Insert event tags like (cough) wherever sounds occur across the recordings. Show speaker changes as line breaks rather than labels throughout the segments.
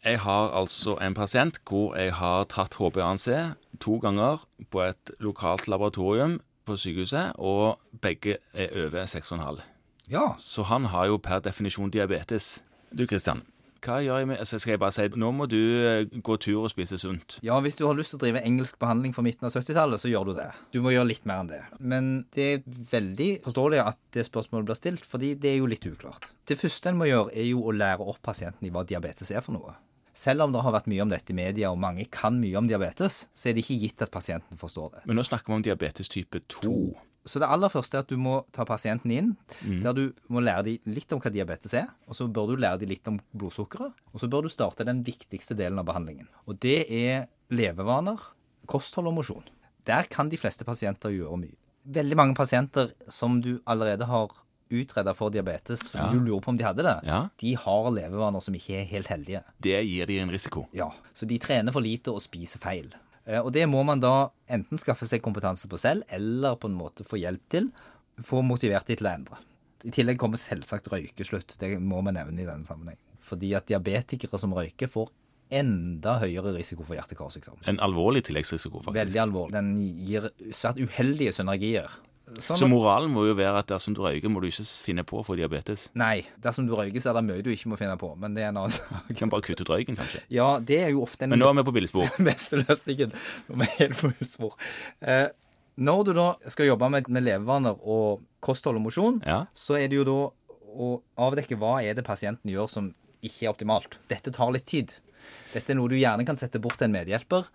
Jeg har altså en pasient hvor jeg har tatt HBANC to ganger på et lokalt laboratorium på sykehuset, og begge er over 6,5.
Ja.
Så han har jo per definisjon diabetes. Du Kristian, hva gjør jeg med altså Skal jeg bare si nå må du eh, gå tur og spise sunt?
ja, hvis du har lyst til å drive engelsk behandling fra midten av 70-tallet, så gjør du det. Du må gjøre litt mer enn det. Men det er veldig forståelig at det spørsmålet blir stilt, fordi det er jo litt uklart. Det første en må gjøre, er jo å lære opp pasienten i hva diabetes er for noe. Selv om det har vært mye om dette i media, og mange kan mye om diabetes, så er det ikke gitt at pasienten forstår det.
Men nå snakker vi om diabetes type 2.
Så det aller første er at du må ta pasienten inn,
Mm.
der du må lære dem litt om hva diabetes er, og så bør du lære dem litt om blodsukkeret, og så bør du starte den viktigste delen av behandlingen. Og det er levevaner, kosthold og mosjon. Der kan de fleste pasienter gjøre mye. Veldig mange pasienter som du allerede har utreda for diabetes fordi
Ja.
du lurer på om de hadde det,
Ja.
de har levevaner som ikke er helt heldige.
Det gir de en risiko.
Ja, så de trener for lite og spiser feil. Eh, Og det må man da enten skaffe seg kompetanse på selv, eller på en måte få hjelp til, få motivert de til å endre. I tillegg kommer selvsagt røykeslutt, det må vi nevne i denne sammenheng. Fordi at diabetikere som røyker får enda høyere risiko for hjerte-karsykdom.
En alvorlig tilleggsrisiko, faktisk.
Veldig alvorlig. Den gir svært uheldige synergier. Sånn
Så moralen må jo være at dersom du røyker, må du ikke finne på å få diabetes.
Nei, dersom du røyker, så er det mye du ikke må finne på, men det er en annen sak.
Du kan bare kutte ut røyken, kanskje.
Ja, det er jo ofte en
Men nå er vi på billigspor.
(laughs) beste løsningen. Nå er vi helt på villspor. Eh, når du da skal jobbe med, med levevaner og kosthold og mosjon,
Ja.
så er det jo da å avdekke hva er det pasienten gjør som ikke er optimalt. Dette tar litt tid. Dette er noe du gjerne kan sette bort til en medhjelper,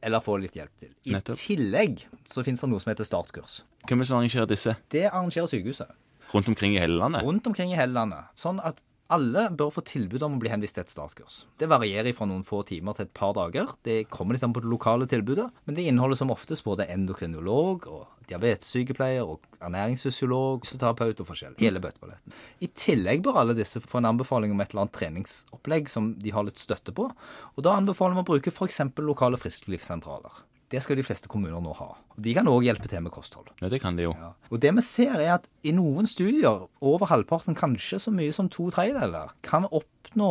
eller få litt hjelp til. I
Nettopp.
tillegg så finnes det noe som heter startkurs.
Hvem er det som arrangerer disse?
Det arrangerer sykehuset
Rundt omkring i hele landet?
(laughs) rundt omkring i hele landet. Sånn at alle bør få tilbud om å bli henvist til et startkurs. Det varierer fra noen få timer til et par dager. Det kommer litt an på det lokale tilbudet, men det inneholder som oftest både endokrinolog og diabetessykepleier og ernæringsfysiolog, fysioterapeut og forskjellig. Hele bøtteballetten. I tillegg bør alle disse få en anbefaling om et eller annet treningsopplegg som de har litt støtte på, og da anbefaler vi å bruke f.eks. lokale frisklivssentraler. Det skal de fleste kommuner nå ha. Og De kan òg hjelpe til med kosthold.
Ja, det kan de jo.
Ja. Og det vi ser er at i noen studier, over halvparten, kanskje så mye som to tredjedeler, kan oppnå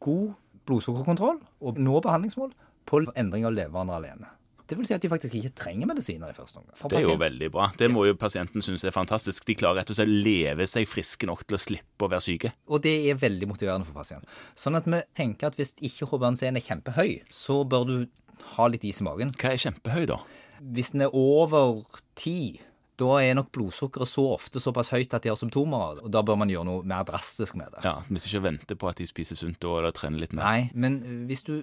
god blodsukkerkontroll og nå behandlingsmål på endring av levevaner alene. Det vil si at de faktisk ikke trenger medisiner i første omgang. For
Det er jo
pasient-
veldig bra. Det må jo pasienten synes er fantastisk. De klarer rett og slett å leve seg friske nok til å slippe å være syke.
Og det er veldig motiverende for pasienten. Sånn at vi tenker at hvis ikke HbA1c-en er kjempehøy, så bør du ha litt is i magen.
Hva er kjempehøy, da?
Hvis den er over ti, da er nok blodsukkeret så ofte såpass høyt at de har symptomer av det. Og da bør man gjøre noe mer drastisk med det.
Ja, Hvis ikke vente på at de spiser sunt og eller trener litt mer.
Nei, men eh, hvis du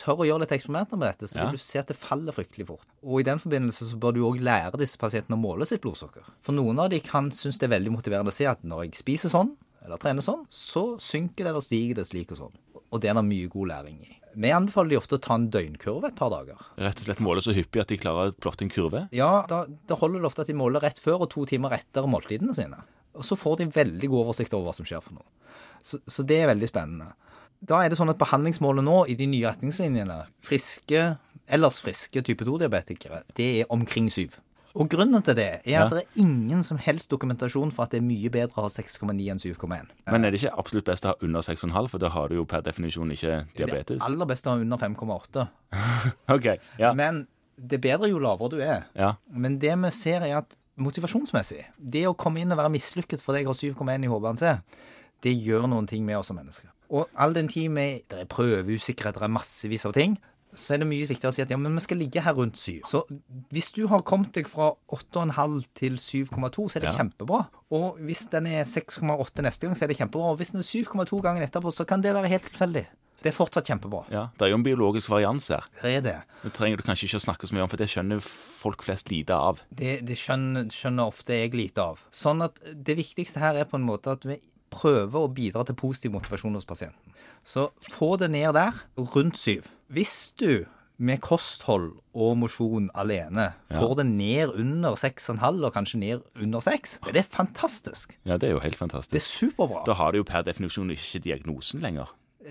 tør å gjøre litt eksperimenter med dette, så
Ja.
vil du se at det faller fryktelig fort. Og i den forbindelse så bør du òg lære disse pasientene å måle sitt blodsukker. For noen av de kan synes det er veldig motiverende å si at når jeg spiser sånn, eller trener sånn, så synker det eller stiger det slik og sånn. Og det er det mye god læring i. Vi anbefaler de ofte å ta en døgnkurve et par dager.
Rett og slett måle så hyppig at de klarer å plotte en kurve.
Ja, da, da holder det ofte at de måler rett før og to timer etter måltidene sine. Og så får de veldig god oversikt over hva som skjer for noe. Så, så det er veldig spennende. Da er det sånn at behandlingsmålet nå i de nye retningslinjene, friske, ellers friske type 2-diabetikere, det er omkring syv. Og grunnen til det er
Ja.
at det er ingen som helst dokumentasjon for at det er mye bedre å ha 6,9 enn 7,1.
Men er det ikke absolutt best å ha under 6,5, for da har du jo per definisjon ikke
Det
diabetes?
aller beste er under 5,8.
Ok, ja.
Men det er bedre jo lavere du er.
ja.
Men det vi ser er at motivasjonsmessig, det å komme inn og være mislykket fordi jeg har 7,1 i HBNC, det gjør noen ting med oss som mennesker. Og all den tid vi Det er prøveusikkerhet, det er massevis av ting. Så er det mye viktigere å si at ja, men vi skal ligge her rundt 7. Så hvis du har kommet deg fra 8,5 til 7,2, så er det
Ja.
kjempebra. Og hvis den er 6,8 neste gang, så er det kjempebra. Og hvis den er 7,2 gangen etterpå, så kan det være helt tilfeldig. Det er fortsatt kjempebra.
ja. Det er jo en biologisk varians her.
Det er det.
Det trenger du kanskje ikke å snakke så mye om, for det skjønner folk flest lite av.
Det, det skjønner, skjønner ofte jeg lite av. Sånn at det viktigste her er på en måte at vi prøver å bidra til positiv motivasjon hos pasienten. Så få det ned der, rundt syv. Hvis du med kosthold og mosjon alene får det ned under 6,5 og kanskje ned under 6, så er det fantastisk.
Ja, det er jo helt
Det er
fantastisk.
superbra.
Da har du jo per definisjon ikke diagnosen lenger.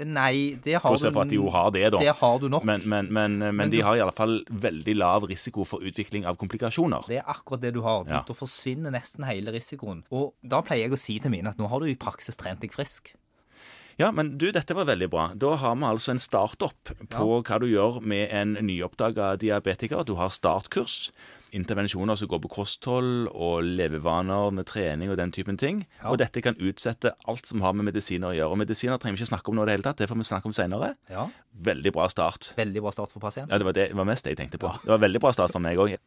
Nei, det har
Bortsett fra at de jo
du
har det, da.
Det har du nok.
Men, men, men, men, de har i alle fall veldig lav risiko for utvikling av komplikasjoner.
Det er akkurat det du har.
Ja.
Da forsvinner nesten hele risikoen. Og da pleier jeg å si til mine at nå har du i praksis trent deg frisk.
Ja, men du, dette var veldig bra. Da har vi altså en startup på hva du gjør med en nyoppdaga diabetiker. Du har startkurs, intervensjoner som går på kosthold og levevaner med trening og den typen ting.
Ja.
Og dette kan utsette alt som har med medisiner å gjøre. Og medisiner trenger vi ikke snakke om nå i det hele tatt, det får vi snakke om seinere.
Ja,
Veldig bra start.
Veldig bra start for pasienten.
Ja, det var, det, det var mest det jeg tenkte på. Det var veldig bra start for meg òg.